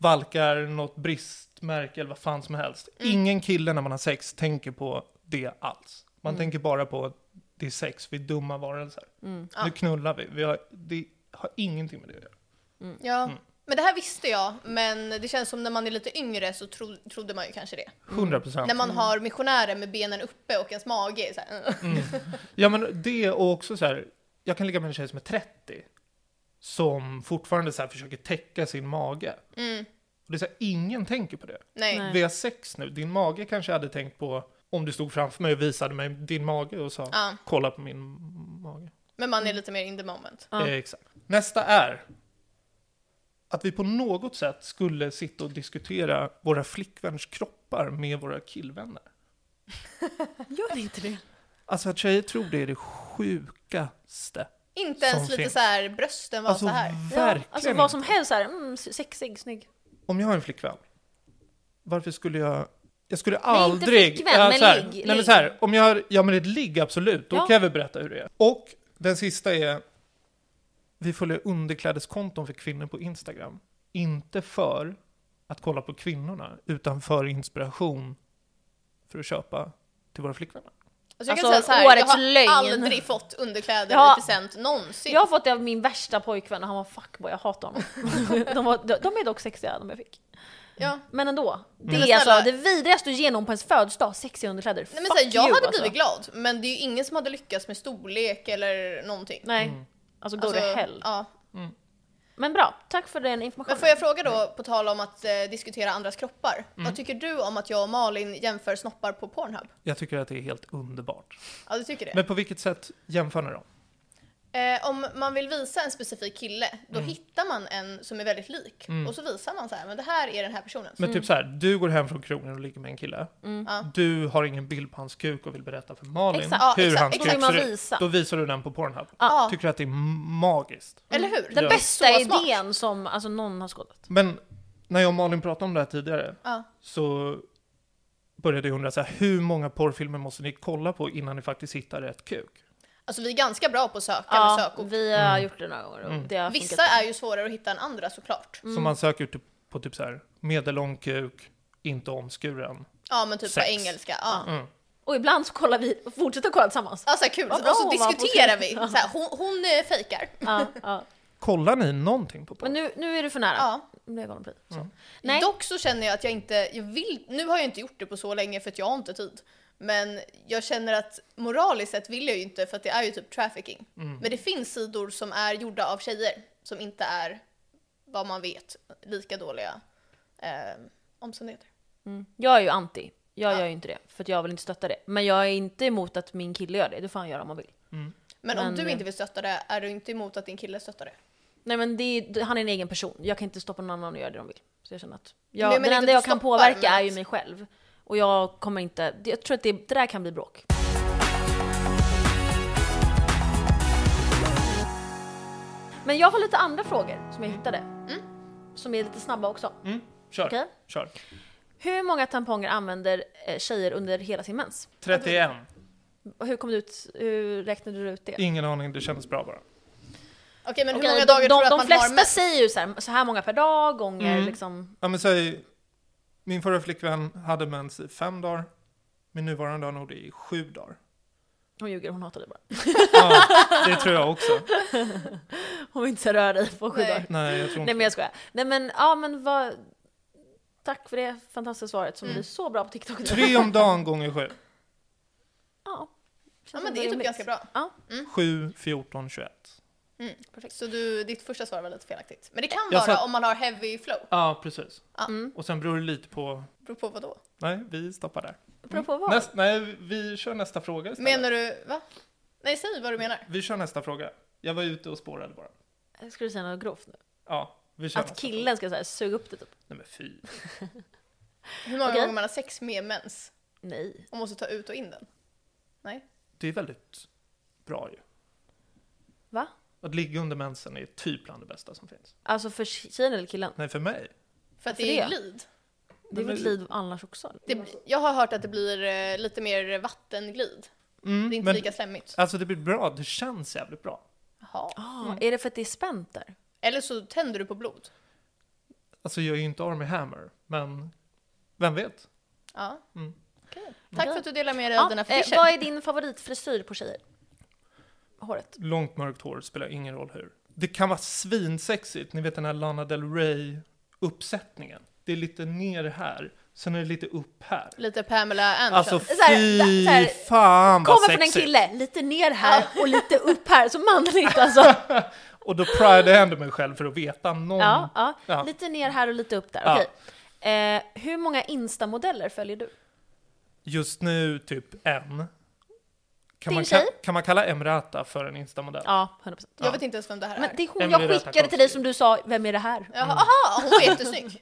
valkar, något bristmärke eller vad fan som helst. Ingen kille när man har sex tänker på det alls. Man tänker bara på att det är sex, vi är dumma varelser.
Mm.
Nu knullar vi. vi har, det har ingenting med det att göra.
Mm. Ja.
Mm.
Men det här visste jag, men det känns som när man är lite yngre så tro, trodde man ju kanske det.
100 procent.
När
Mm.
man har missionärer med benen uppe och ens mage är så här, mm.
Ja men det och också så här, jag kan ligga med en tjej som
Mm.
är 30 som fortfarande så här försöker täcka sin mage. Och det är så här, ingen tänker på det.
Nej.
Nej.
Vi har sex nu, din mage kanske jag hade tänkt på om du stod framför mig och visade mig din mage och sa
Ja.
kolla på min mage.
Men
Mm.
man är lite mer in the moment.
Ja.
Eh, exakt. Nästa är att vi på något sätt skulle sitta och diskutera våra flickvänners kroppar med våra killvänner.
Gör inte det.
Alltså att tjejer tror det är det sjukaste.
Inte ens
Som
lite
finns.
så här brösten var
Alltså
så här.
verkligen
alltså
inte.
vad som helst såhär, mm, sexig, snygg.
Om jag har en flickvän, varför skulle jag... Jag skulle
inte
aldrig...
flickvän,
Ja,
men
så här,
ligg,
Nej, men
ligg.
så här, om jag har, ja men ett ligg, absolut. Då
Ja.
kan jag väl berätta hur det är. Och den sista är... Vi följer underklädeskonton för kvinnor på Instagram. Inte för att kolla på kvinnorna, utan för inspiration för att köpa till våra flickvänner.
Alltså, jag
Alltså,
kan säga så här, jag
årets
har
lögn.
aldrig fått underkläder
Ja.
i present någonsin.
Jag har fått det av min värsta pojkvän och han var fuckboy, jag hatar honom. de, var, de, de är dock sexiga de jag fick.
Ja.
Men ändå. Det
Men
är alltså
snälla-
det vidrigaste att ge någon på ens födelsedag, sexiga underkläder.
Nej, men
Fuck
så här, jag
you,
hade
alltså.
blivit glad, men det är ju ingen som hade lyckats med storlek eller någonting.
Nej. Alltså go to
Alltså,
hell.
Ja.
Men bra, tack för den informationen.
Men får jag fråga
Mm.
då, på tal om att eh, diskutera andras kroppar.
Mm.
Vad tycker du om att jag och Malin jämför snoppar på Pornhub?
Jag tycker att det är helt underbart.
Ja, du tycker det?
Men på vilket sätt jämför ni dem?
Eh, om man vill visa en specifik kille, då
Mm.
hittar man en som är väldigt lik. Och så visar man så här, men det här är den här personen.
Men typ så här, du går hem från krogen och ligger med en kille.
Ja.
Du har ingen bild på hans kuk och vill berätta för Malin
Exakt.
Ja,
hur
exakt.
hans
Då
vill
kuk
man
ser ut.
visa.
Då visar du den på Pornhub.
Ah.
Ja.
Tycker att det är magiskt.
Eller hur?
Den
Ja.
bästa
Så smart.
idén som alltså, någon har skådat.
Men när jag och Malin pratade om det här tidigare
Ja.
så började jag undra så här, hur många porrfilmer måste ni kolla på innan ni faktiskt hittar rätt kuk?
Alltså vi är ganska bra på att söka med
Ja,
sökord.
vi har gjort det några gånger och det har
Vissa
funkat.
är ju svårare att hitta än andra såklart.
Som man söker typ- på typ så här, medellång kuk, inte omskuren.
Ja men typ
Sex.
på engelska. Ja.
Och ibland så kollar vi, fortsätter kolla tillsammans.
Ja, så här kul,
Vad bra
och så
hon var på
diskuterar
sin-
vi. Så här, hon, hon eh, fejkar.
Ja, ja.
Kollar ni någonting på porr?
Men nu, nu är du för nära.
Ja.
Nu blir jag galen på dig. Så. Nej.
Dock så känner jag att jag inte, jag vill, nu har jag inte gjort det på så länge för att jag har inte tid. Men jag känner att moraliskt sett vill jag ju inte för att det är ju typ trafficking.
Mm.
Men det finns sidor som är gjorda av tjejer som inte är, vad man vet, lika dåliga eh, omständigheter.
Mm. Jag är ju anti. Jag gör ju inte det, för att jag vill inte stötta det. Men jag är inte emot att min kille gör det, det får han göra om han vill.
Men, om
Men-
du inte vill stötta det, är du inte emot att din kille stöttar det?
Nej men det är, han är en egen person, jag kan inte stoppa någon annan att göra det de vill. Så jag känner att,
Nej,
jag,
men
den
inte
enda jag
att
kan
stoppa,
påverka
men
är ju
att-
mig själv. Och jag kommer inte, det- jag tror att det, det där kan bli bråk. Men jag har lite andra frågor som jag hittade.
Mm.
Som är lite snabba också.
Kör.
Okej.
Kör.
Hur många tamponger använder eh, tjejer under hela sin mens?
31.
Och Hur kom du ut, hur räknade du ut det?
Ingen aning, det kändes bra bara.
Okej men hur
Okej,
många
de,
dagar
de,
tror du
de
att man har Mm.
flesta
mens?
säger ju så här, så här många per dag gånger liksom.
Ja men säg, min förra flickvän hade mens i fem dagar, min nuvarande har nog det i sju dagar.
Hon ljuger, hon hatar dig bara.
Ja, det tror jag också.
Hon vill inte röra dig på sju
Nej.
dagar.
Nej, jag tror
Nej
inte
men jag skojar. Nej men ja men vad... Tack för det fantastiska svaret
Mm.
som du är så bra på TikTok.
Tre om dagen gånger sju.
Ja. Känns
Ja men
ändå
det är typ
rimligt.
ganska bra. Mm.
Ja,
Sju, fjorton, tjugoett.
Så du, ditt första svar var lite felaktigt. Men det kan
Jag
vara
sa-
om man har heavy flow.
Ja, precis.
Ja.
Mm.
Och sen beror det lite på...
Beror på vad då?
Nej, vi stoppar där.
bra på vad?
Näst, nej, vi kör nästa fråga istället.
Menar du, va? Nej säg vad du menar.
Vi kör nästa fråga. Jag var ute och spårade bara.
Ska du säga något grovt nu?
Ja, vi kör
Att
nästa
killen ska så här, suga upp det typ?
fråga. Nej men fy.
Hur många
Okej.
gånger man har sex med mens
Nej.
och måste ta ut och in den? Nej?
Det är väldigt bra ju.
Va?
Att ligga under mensen är typ bland det bästa som finns.
Alltså för tjejen eller killen?
Nej, för mig.
För att
Varför
det är
det?
glid.
Det är väl ett liv annars också?
Det, jag har hört att det blir eh, lite mer vattenglid.
Mm,
Det är inte
men,
lika slemmigt.
Alltså det blir bra, det känns jävligt bra.
Jaha.
Ah, Är det för att det är spänt där?
Eller så tänder du på blod.
Alltså jag är ju inte Army Hammer, men vem vet?
Ja.
Mm.
Okej. Tack för att du delar med dig av
Ja,
dina
eh,
fetischer.
vad är din favoritfrisyr på tjejer? Håret.
Långt mörkt hår spelar ingen roll hur. Det kan vara svinsexigt, ni vet den här Lana Del Rey-uppsättningen. Det är lite ner här, sen är det lite upp här.
Lite Pamela Anderson.
Alltså
Så här,
fy
så här,
fan vad
Kommer från en
sexigt!
kille, lite ner här och lite upp här, så manligt alltså.
Och då pridade jag ändå mig själv för att veta någon.
Ja, ja.
Ja.
Lite ner här och lite upp där.
Ja.
Okej. Eh, hur många Insta-modeller följer du?
Just nu typ en. Kan
Din
man,
tjej?
ka- kan man kalla Emrata för en instamodell?
Ja, 100%.
Jag vet inte ens vem det här är.
Men det är hon
Emily
jag
Ratajkowski.
skickade till dig som du sa, vem är det här?
Jaha, aha, hon var jättesnygg.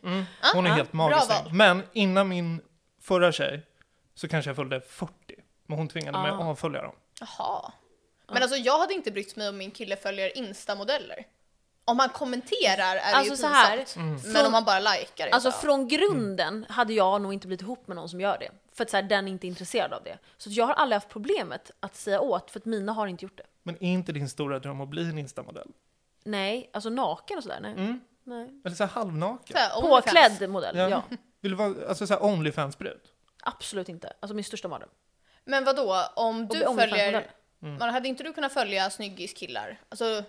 Hon är
Ja,
helt
Mm. Ah, bra
magisk.
val.
Men innan min förra tjej så kanske jag följde 40. Men hon tvingade mig att
Ah.
avfölja dem.
Jaha. Men alltså jag hade inte brytt mig om min kille följer instamodeller. Om han kommenterar är det
Alltså
ju
så här,
pinsamt. Men
från-
om han bara likar är
Alltså
bara-
från grunden hade jag nog inte blivit ihop med någon som gör det. För att så här, den är inte intresserad av det. Så att jag har aldrig haft problemet att säga åt, för att mina har inte gjort det.
Men är inte din stora dröm att bli en instamodell?
Nej, alltså naken och sådär, nej.
Mm.
nej.
Eller så här halvnaken?
Så här, Onlyfans.
Påklädd modell,
Ja.
ja.
Vill du vara alltså så här Onlyfans-brud?
Absolut inte. Alltså min största mardröm.
Men vad då om du
bli
följer...
Onlyfans-modell.
Man hade inte du kunnat följa snyggiskillar? Alltså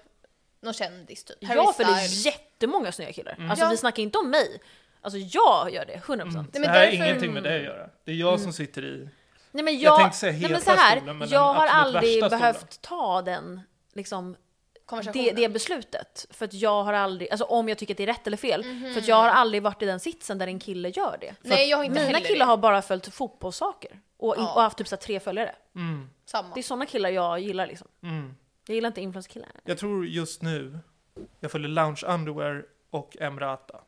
någon kändis typ?
Jag följer
Styles.
jättemånga snygga killar. Alltså
Ja.
vi snackar inte om mig. Alltså jag gör det, 100%.
Nej,
Mm. det
men
här
därför- Mm.
är ingenting med det att göra. Det är jag som sitter i.
Nej men jag,
Jag tänkte säga
nej, men
heta
så här,
stolen, men den
jag har
absolut
aldrig
värsta stolen.
behövt ta den, liksom, det,
Konversationen.
det beslutet. För att jag har aldrig, alltså om jag tycker att det är rätt eller fel, för att jag har aldrig varit i den sitsen där en kille gör det.
Nej, jag har inte
Mina
heller
killar har bara följt fotbollssaker och,
Ja.
och haft typ så här tre följare.
det. Samma.
Det är sådana killar jag gillar liksom.
Mm.
Jag gillar inte influencerkillar.
Jag tror just nu, jag följer Lounge Underwear och Emrata.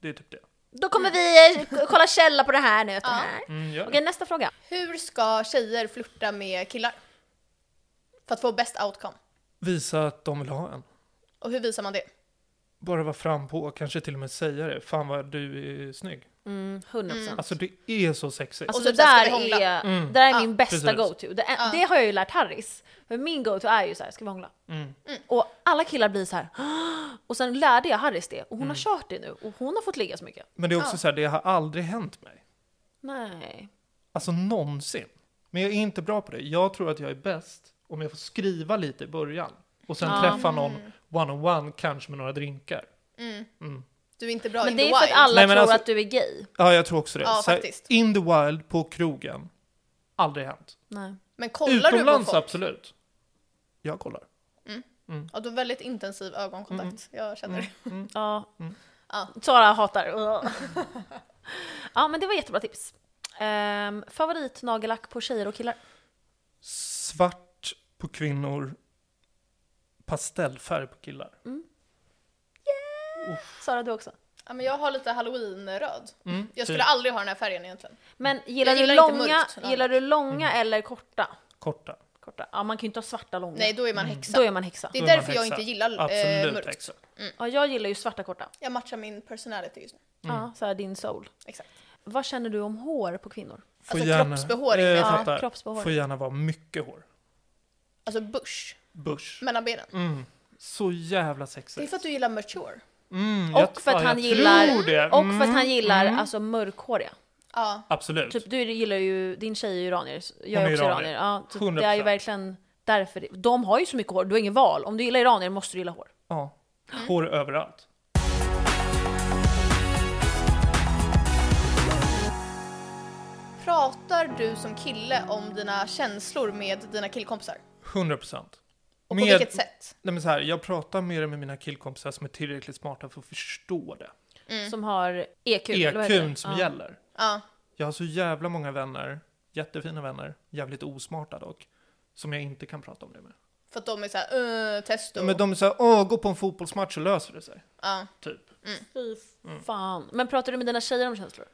Det är typ det.
Då kommer vi eh, k- kolla källa på det här nu. Ja.
Ja.
Här.
Mm, gör det.
Okej, nästa fråga.
Hur ska tjejer flirta med killar? För att få bäst outcome.
Visa att de vill ha en.
Och hur visar man det?
Bara vara fram på, kanske till och med säga det. Fan vad du är snygg.
Mm, 100%.
Alltså det är så sexigt.
Alltså
Och typ
det
så här, ska
där
vi hångla?
är, det där är
Ja,
min bästa
Mm. precis.
go-to. Det, är- det har jag ju lärt Harris. För min go-to är ju så här, ska vi hångla?
Mm.
Och alla killar blir så här. "Åh!" och sen lärde jag Harris det och hon
Mm.
har kört det nu och hon har fått ligga så mycket.
Men det är också
Ja.
så här, det har aldrig hänt mig.
Nej.
Alltså någonsin. Men jag är inte bra på det. Jag tror att jag är bäst om jag får skriva lite i början. Och sen träffa någon
Mm.
one-on-one, kanske med några drinkar. Mm.
Du är inte bra
Men
in
det
the
är för att
wild.
alla
Nej, men
tror
alltså-
att du är gay.
Ja, jag tror också det.
Ja,
Så här,
faktiskt.
in the wild, på krogen. Aldrig hänt.
Nej.
Men kollar du på
Utomlands
folk?
absolut. Jag kollar.
Ja, du har väldigt intensiv ögonkontakt.
Mm.
Jag känner det.
Ja.
Ja.
Sara hatar. ja men det var jättebra tips. Ehm, favorit nagellack på tjejer och killar?
Svart på kvinnor, pastellfärg på killar.
Sara du också?
Ja, men jag har lite halloweenröd.
Mm,
Jag
typ
skulle aldrig ha den här färgen egentligen.
Men gillar,
gillar
du,
inte
långa,
mörkt nagellack.
gillar du långa
Mm.
eller korta?
Korta.
eh,
korta? Ja man kan ju inte ha svarta långa.
Nej, då är man häxa.
Då är man häxa.
Det är
Mm. Då är man
därför jag
häxa.
inte gillar eh,
Absolut
mörkt.
häxa.
Ja, jag gillar ju svarta korta.
Jag matchar min personality just nu.
Mm.
Ja, så här din soul.
Exakt.
Vad känner du om hår på kvinnor?
Får
Alltså, kroppsbehåring,
Eh, jag
menar
jag.
fattar.
Ja, kroppsbehåring.
Får gärna vara mycket hår.
Alltså bush,
Bush.
mellan benen.
Mm. Så jävla
Det är
sexigt.
för att du gillar mature.
Mm, jag-
Och för att
ja,
han
jag
gillar,
tror det.
och
Mm,
för att han gillar alltså mörkhåriga.
Ja.
Absolut.
Typ du gillar ju, din tjej är ju iranier, jag
Hon är
är också
iranier.
iranier. Ja, så det är ju
100%.
verkligen därför. det- De har ju så mycket hår, du har inget val. Om du gillar iranier måste du gilla hår.
Ja. Hår överallt.
Pratar du som kille om dina känslor med dina killkompisar?
100 procent.
Och på vilket sätt?
Nej, men så här, jag pratar med det med mina killkompisar som är tillräckligt smarta för att förstå det.
Som har EQ. eller vad heter det?
EQn E som
ja.
gäller.
Ja.
Jag har så jävla många vänner, jättefina vänner, jävligt osmarta dock, som jag inte kan prata om det med.
För att de är såhär, uh, testo.
Men de är såhär, åh, gå på en fotbollsmatch så löser det sig.
Ja.
Typ.
Fy
Mm.
fan. Men pratar du med dina tjejer om känslor?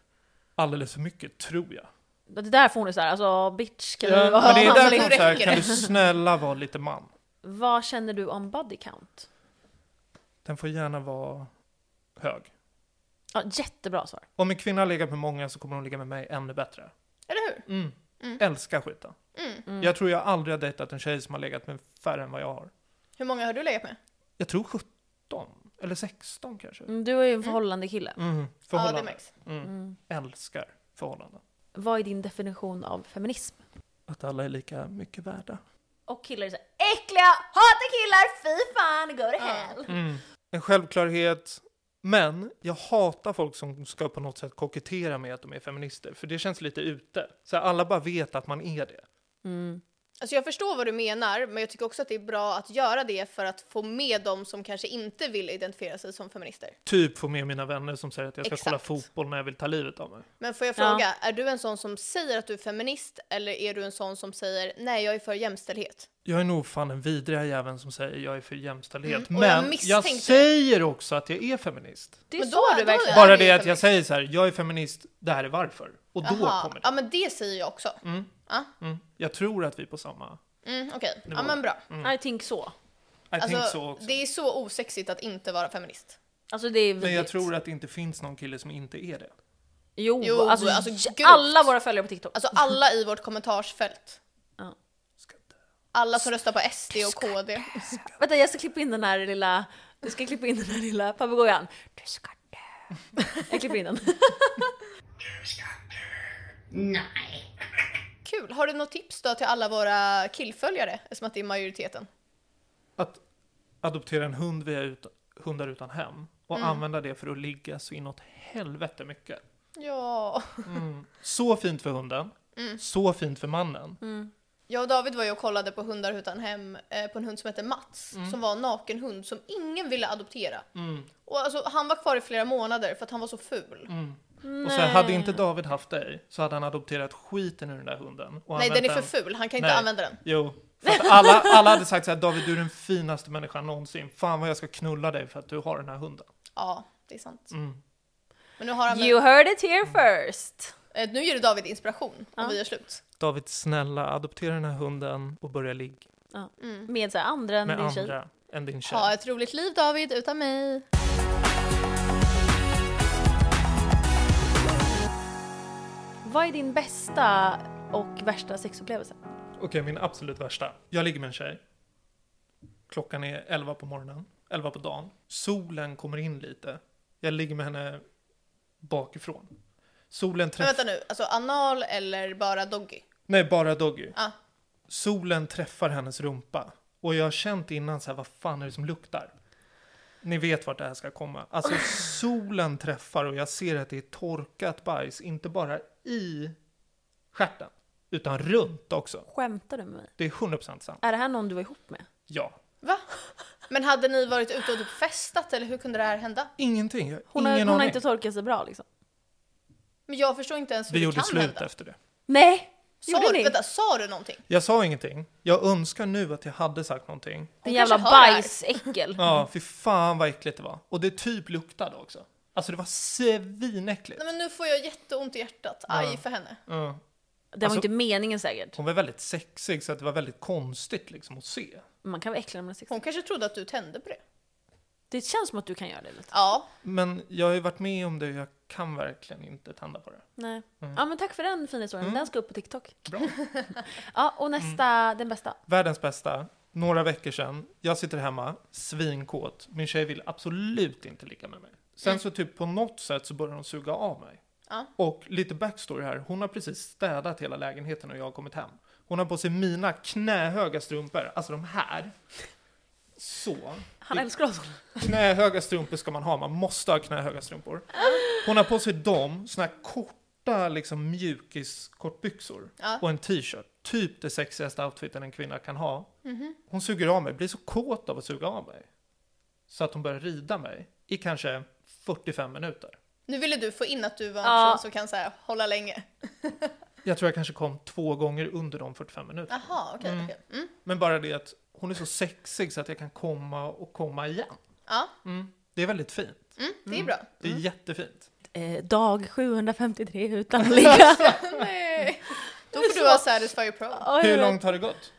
Alldeles för mycket, tror jag.
Det där får hon ju såhär, alltså bitch kan
Ja,
du vara
men det är
alltså,
manlig?
därför
nu
så här,
räcker
kan
det.
du snälla vara lite man?
Vad känner du om body count?
Den får gärna vara hög.
Ja, jättebra svar.
Om en kvinna har legat med många så kommer hon ligga med mig ännu bättre.
Eller hur?
Mm. Älskar skiten.
Mm.
Jag tror jag aldrig har dejtat en tjej som har legat med färre än vad jag har.
Hur många har du legat med?
Jag tror 17, eller 16 kanske.
Mm, Du är ju en förhållande kille. Mm.
Mm.
Ja, det
Förhållanden. Mm.
märks.
Älskar förhållanden.
Vad är din definition av feminism?
Att alla är lika mycket värda.
Och killar är så här, äckliga, hatar killar, fy fan, go to hell.
Mm. En självklarhet. Men jag hatar folk som ska på något sätt kokettera med att de är feminister, för det känns lite ute. Så här, alla bara vet att man är det.
Alltså jag förstår vad du menar, men jag tycker också att det är bra att göra det för att få med de som kanske inte vill identifiera sig som feminister.
Typ få med mina vänner som säger att jag ska kolla
Exakt.
fotboll när jag vill ta livet av mig.
Men får jag
Ja.
fråga, är du en sån som säger att du är feminist eller är du en sån som säger nej, jag är för jämställdhet?
Jag är nog fan den vidriga jäveln som säger jag är för jämställdhet.
Mm, och jag
Men jag,
misstänkte det.
säger också att jag är feminist.
Det är
Men
så
då-
du
då-
verkligen...
Ja,
Bara
det är
det att jag
feminist.
säger så här, jag är feminist, det här är varför. Och då kommer
Ja,
det.
men det säger jag också.
Mm.
Ja.
Mm. Jag tror att vi är på samma.
Mm, Okej,
Det
ja
var-
men bra.
I think så.
I think
Alltså,
so också.
det är så osexigt att inte vara feminist.
Alltså det är
Men jag
vidrigt.
tror att det inte finns någon kille som inte är det.
Jo,
Jo,
alltså,
alltså,
j-
grovt.
alla våra följare på TikTok.
Alltså alla i vårt kommentarsfält.
Ja.
Ska inte-
Alla som röstar på SD och KD.
Ah, Vänta, jag ska klippa in den här lilla... Jag ska klippa in den här lilla papegojan. Du ska dö. Jag klipper in den.
Nej.
Kul! Har du något tips då till alla våra killföljare? Eftersom att det är majoriteten.
Att adoptera en hund via ut, hundar utan hem och
Mm.
använda det för att ligga så inåt helvete mycket.
Ja.
Så fint för hunden,
Mm.
så fint för mannen.
Jag och David var ju och kollade på hundar utan hem eh, på en hund som hette Mats som var en naken hund som ingen ville adoptera.
Mm,
Och alltså, han var kvar i flera månader för att han var så ful.
mm. Och så här, hade inte David haft dig så hade han adopterat skiten ur den där hunden. Och
Nej, den är
använt
för ful. Han kan inte
Nej.
använda den.
Jo. För att alla, alla hade sagt så här, David du är den finaste människan någonsin. Fan vad jag ska knulla dig för att du har den här hunden. Mm.
Ja, det är sant. Men nu har han...
You heard it here first.
eh, Nu ger du David inspiration
Ja.
om vi gör slut.
David snälla adoptera den här hunden och börja ligga
Ja. Med så här, andra än
med
din tjej.
andra än din tjej.
Ha ett roligt liv David, utan mig.
Vad är din bästa och värsta sexupplevelse?
Okej, min absolut värsta. Jag ligger med en tjej. Klockan är 11 på morgonen, 11 på dagen. Solen kommer in lite. Jag ligger med henne bakifrån. Solen
Men vänta
träffar...
nu, alltså anal eller bara doggy?
Nej, bara Doggy.
Ah.
Solen träffar hennes rumpa. Och jag har känt innan så här, vad fan är det som luktar? Ni vet vart det här ska komma. Alltså solen träffar och jag ser att det är torkat bajs, inte bara i stjärten, utan runt också.
Skämtar du med mig?
Det är 100% sant.
Är det här någon du var ihop med?
Ja.
Va? Men hade ni varit ute och typ festat eller hur kunde det här hända?
Ingenting. Jag har
Hon, har,
ingen
hon
aning.
har inte torkat sig bra liksom.
Men jag förstår inte ens hur
Vi
det
gjorde
kan
slut
hända.
efter det.
Nej!
Sa
Gjorde
du,
ni?
vänta, sa du någonting?
Jag sa ingenting. Jag önskar nu att jag hade sagt någonting.
Din
Hon
jävla
kanske hör det här.
bajsäckel.
Ja, fy fan vad äckligt det var. Och det typ luktade också. Alltså det var svinäckligt.
Nej men nu får jag jätteont i hjärtat, aj för henne.
Ja.
Det var
Alltså-
inte meningen säkert.
Hon var väldigt sexig så att det var väldigt konstigt liksom att se.
Man kan vara äcklig när man är sex.
Hon kanske trodde att du tände på det.
Det känns som att du kan göra det lite.
Ja,
Men jag har ju varit med om det och jag kan verkligen inte tända på det. Mm.
Nej. Ja men tack för den fina historien, den ska upp på TikTok.
Bra.
Ja och nästa,
Mm.
den bästa.
Världens bästa. Några veckor sedan. Jag sitter hemma, svinkåt. Min tjej vill absolut inte ligga med mig. Sen så typ på något sätt så börjar hon suga av mig.
Ja.
Och lite backstory här. Hon har precis städat hela lägenheten och jag har kommit hem. Hon har på sig mina knähöga strumpor. Alltså de här. Så.
Han
Det-
älskar oss.
Knähöga strumpor ska man ha, man måste ha knähöga strumpor. Hon har på sig dem, såna här korta liksom mjukis-kortbyxor
Ja.
och en t-shirt. Typ det sexigaste outfiten en kvinna kan ha.
mhm.
Hon suger av mig, blir så kåt av att suga av mig. Så att hon börjar rida mig i kanske 45 minuter.
nu ville du få in att du var en
Ja.
person som kan så här, hålla länge.
Jag tror jag kanske kom två gånger under de 45 minuterna.
Jaha, okej. okej. Mm.
Men bara det att hon är så sexig så att jag kan komma och komma igen.
Ja,
Mm. Det är väldigt fint.
mm, det är bra.
Det är jättefint.
Eh, dag 753 utan att ligga.
Nej. Då får du ha Satisfyer Pro.
Oj,
Hur
oj, oj.
långt har det gått?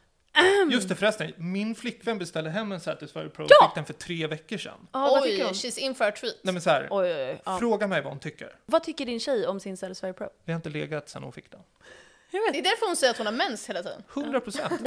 Just det förresten, min flickvän beställde hem en Satisfyer Pro och
Ja!
fick den för tre veckor sedan.
Ja, vad
Oj,
tycker hon?
she's in for a treat.
Nej men så här,
Oj, oj, oj. Ja.
fråga mig vad hon tycker.
Vad tycker din tjej om sin Satisfyer Pro?
Vi har inte legat sedan hon fick den.
Det är därför hon säger att hon har mens hela tiden.
100 procent.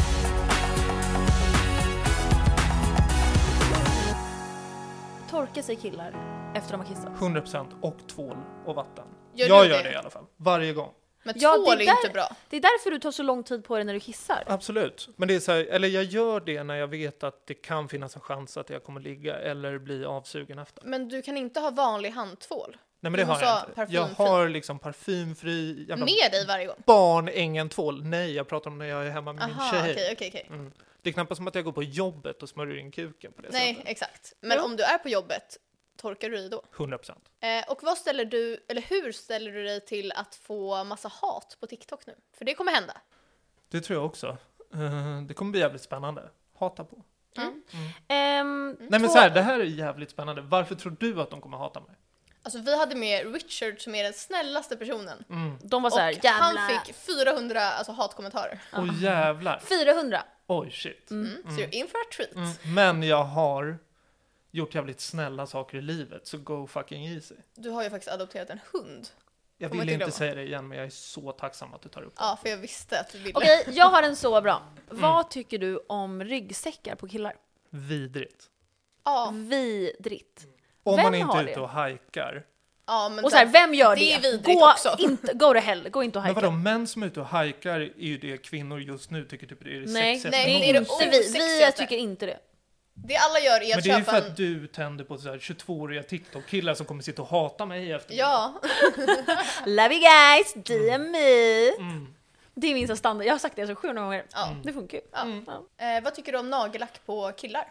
Torka sig killar efter de har kissat.
100 procent och tvål och vatten.
Gör
jag
du
gör
det?
det i alla fall. Varje gång.
Men
Ja,
tvål är
det
inte
där-
bra.
Det är därför du tar så lång tid på dig när du kissar.
Absolut. Men det är så här, eller jag gör det när jag vet att det kan finnas en chans att jag kommer ligga eller bli avsugen efter.
Men du kan inte ha vanlig handtvål.
Nej men det
Du
har
måste
jag
ha
inte. Jag
parfymfri.
har liksom parfymfri, jävla
Med dig varje gång?
barnängen-tvål. Nej, jag pratar om när jag är hemma med min
Aha,
tjej.
okej, okej, okej.
Mm. Det är knappast som att jag går på jobbet och smörjer in kuken på det
Nej,
sättet.
exakt. Men om du är på jobbet, torkar du dig då?
100 procent.
Eh, och vad ställer du, eller hur ställer du dig till att få massa hat på TikTok nu? För det kommer hända.
Det tror jag också. Eh, det kommer bli jävligt spännande. Hata på. Mm.
Ehm,
Nej men
två-
så här, det här är jävligt spännande. Varför tror du att de kommer hata mig?
Alltså vi hade med Richard som är den snällaste personen.
Mm.
De var
Och
såhär, jävla...
han fick 400 alltså, hatkommentarer.
Åh jävlar.
400!
Oj shit.
Mm. Så you're in for a treat.
Mm. Men jag har gjort jävligt snälla saker i livet, så go fucking easy.
Du har ju faktiskt adopterat en hund.
Jag
Kommer
vill
inte glömma.
inte säga det igen, men jag är så tacksam att du tar upp det.
Ja, för jag visste att du ville.
Okej, jag har en så bra.
Mm.
Vad tycker du om ryggsäckar på killar?
Vidrigt.
Ja,
Vidrigt.
Om
Vem
man inte
har
är ute
det?
och hajkar.
ja men
Och så här, vem gör det?
Det är vidrigt
gå
också.
Inte, go to hell, gå inte och
Men
hajka.
vadå, män som är ute och hajkar är ju det kvinnor just nu tycker typ det är det
Nej,
sexigaste
Nej,
det
är det
någonsin.
inte vi. Vi
osexigaste.
tycker inte det.
det alla gör är
Men
att
det är ju
köpa
för att
en...
du tänder på så här 22-åriga TikTok-killar som kommer sitta och hata mig efter
Ja,
Love you guys, DM me!
Mm.
Det är min så standard, jag har sagt det så 700 gånger.
Ja.
Det funkar ju.
Ja.
Mm.
Ja.
eh, vad tycker du om nagellack på killar?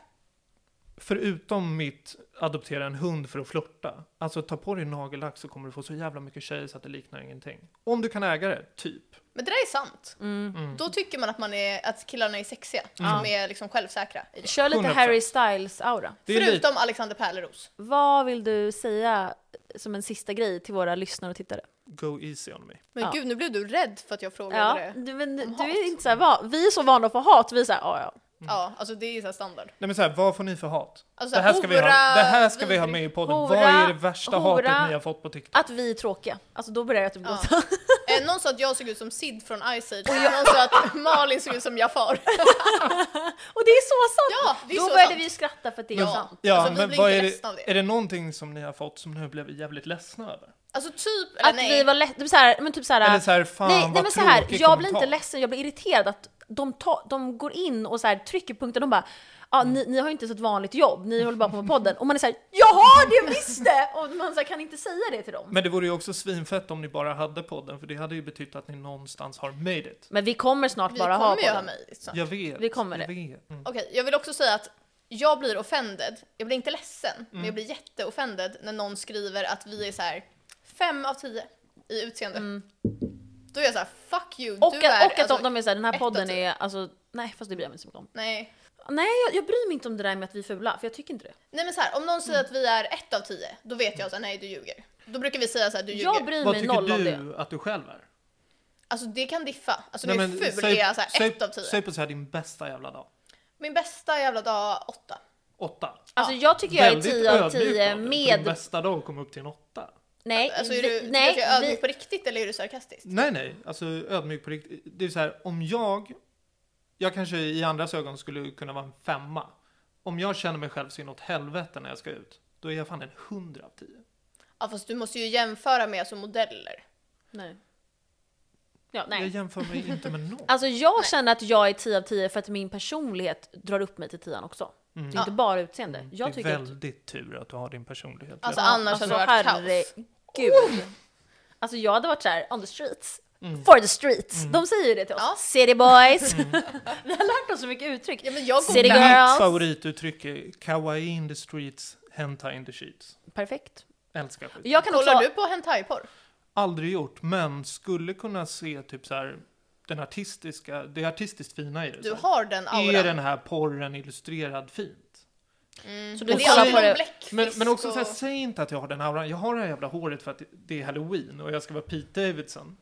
Förutom mitt adoptera en hund för att flirta. Alltså ta på dig nagellack så kommer du få så jävla mycket tjejer så att det liknar ingenting. Om du kan äga det, typ.
Men det där är sant.
Mm.
Då tycker man att, man är, att killarna är sexiga, som är liksom självsäkra. I det.
Kör lite
100%.
Harry Styles-aura.
Det är lite-
Förutom Alexander Pärleros.
Vad vill du säga som en sista grej till våra lyssnare och tittare?
Go easy on me.
Men
Ja.
gud, nu blev du rädd för att jag frågade
Ja,
det.
Mm.
du, men, du
Om
är
hat.
inte så här, va, vi är så vana att få hat, vi är så här, ja ja.
Ja, alltså det är ju så här standard.
Nej men så här, vad får ni för hat?
Alltså,
det, här ska vi ha,
hora,
det här ska vi ha
vidrig-
med i podden.
hora,
vad är det värsta
hora.
hatet ni har fått på TikTok?
Att vi är tråkiga, alltså då börjar jag typ
Ja.
gråta.
Eh, någon sa att jag såg ut som Sid från Ice Age, och någon sa att Malin såg ut som Jafar.
Och det är så sant!
Ja, det är
då
så
började
sant.
vi skratta för att det är
Ja.
sant.
Ja,
Alltså, vi
men
blir
vad
inte
är det,
ledsna av det.
är det någonting som ni har fått som ni har blivit jävligt ledsna över?
Alltså typ, eller
Att
nej.
vi var lätt, typ så här, men typ så här,
Eller så här, fan
nej,
vad
nej men så här,
tråkig
jag blir inte
kommentar.
ledsen, jag blir irriterad att de, ta, de går in och så här, trycker punkter, de bara Ja, ni, ni har ju inte så ett vanligt jobb, ni håller bara på med podden. Och man är såhär “Jag har det visst det!” Och man så här, kan inte säga det till dem.
Men det vore ju också svinfett om ni bara hade podden, för det hade ju betytt att ni någonstans har made it.
Men vi kommer snart
vi
bara ha
kommer ju ha
podden.
mig. så.
Jag vet.
Vi kommer
jag
det.
Vet. Mm.
Okej, jag vill också säga att jag blir offended. Jag blir inte ledsen,
Mm.
men jag blir jätteoffended när någon skriver att vi är så här fem av tio i utseende. Då är jag så här, fuck you,
Mm. Och,
du
att,
är...
och att
alltså,
de, de är såhär, den här
ett av
podden
tio.
är alltså, nej fast det bryr jag mig inte så mycket om.
Nej.
Nej jag, jag bryr mig inte om det där med att vi är fula, för jag tycker inte det.
nej men så här, om någon
Mm.
säger att vi är ett av tio, då vet jag så här, nej du ljuger. Då brukar vi säga så här, du ljuger.
Jag bryr
Vad
mig
tycker
noll om
du
det.
att du själv är?
Alltså det kan diffa. Alltså när
Nej,
jag är
men
ful
säg-
är jag så här,
säg-
ett av tio.
Säg på så här din bästa jävla dag.
Min bästa jävla dag, åtta.
Åtta.
Alltså jag tycker jag är
Väldigt
10 av
ödmjuk Alltså, dig,
10
för Din
med...
bästa dag kom upp till en åtta.
Nej,
Alltså är
vi-
du, tycker du att jag är
nej,
ödmjuk
vi,
på riktigt eller är du sarkastisk?
Nej, nej. Alltså ödmjuk på riktigt. Det är så här, om jag... Jag kanske i andras ögon skulle kunna vara en femma. Om jag känner mig själv så inåt helvete när jag ska ut, då är jag fan en hundra av tio.
Ja fast du måste ju jämföra med alltså modeller.
nej. Ja,
Jag
nej.
jämför mig inte med någon.
Alltså jag känner att jag är 10 av 10 för att min personlighet drar upp mig till 10 också. Det är inte bara utseende. Jag
Mm. det är
tycker att...
väldigt tur att du har din personlighet.
Alltså annars hade det varit kaos.
herregud. Alltså jag hade varit såhär, on the streets. For the streets. De säger ju det till oss.
Ja.
City boys. Vi har lärt oss så mycket uttryck.
Ja men jag
Ser det
googlar
gott?
Mitt
Girls.
favorituttryck är kawaii in the streets, hentai in the sheets.
Perfekt.
Älskar skit.
Jag kan
Kollar
också...
du på hentai-porr?
Aldrig gjort, men skulle kunna se typ så här den artistiska, det artistiskt fina i det.
Du
så här.
har den auran.
Är den här porren illustrerad fint?
Så
Mm. Men
du
det är
kollar
alltid
på
någon
det...
bläckfisk
Men, men också så här,
och...
säg inte att jag har den auran. Jag har det här jävla håret för att det är halloween och jag ska vara Pete Davidson.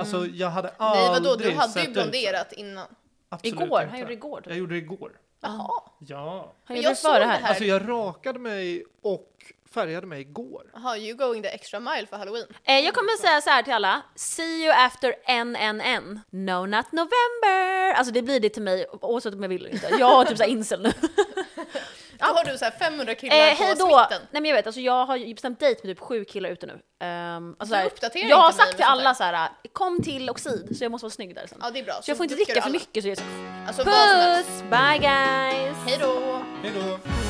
Alltså jag hade aldrig
Mm. Nej vadå, du hade
sett
ju
ut så.
blonderat innan.
Absolut
Igår,
inte.
han gjorde det igår. typ.
Jag gjorde det igår.
Jaha.
Ja.
Han
Men
gjorde det
jag såg
före det
det
här.
här.
Alltså jag rakade mig och färgade mig igår.
Jaha, you going the extra mile för halloween.
Eh, jag kommer säga så här till alla. See you after NNN. No not November. Alltså det blir det till mig oavsett om jag vill eller inte. Jag har typ såhär incel nu.
Då har du så här 500 killar
Eh,
på
hej då! Nej
smitten.
men jag vet, alltså jag har ju bestämt dejt med typ sju killar ute nu. Ehm, alltså,
Du
såhär,
uppdaterar
jag har
inte mig
sagt till
med sånt
alla så här: kom till Oxid så jag måste vara snygg där sen.
Ja det är bra.
så jag får inte
duckar
dricka för
alla.
mycket så jag är så
Alltså vad som helst.
Puss! Bye guys!
Hej då!
Hej då!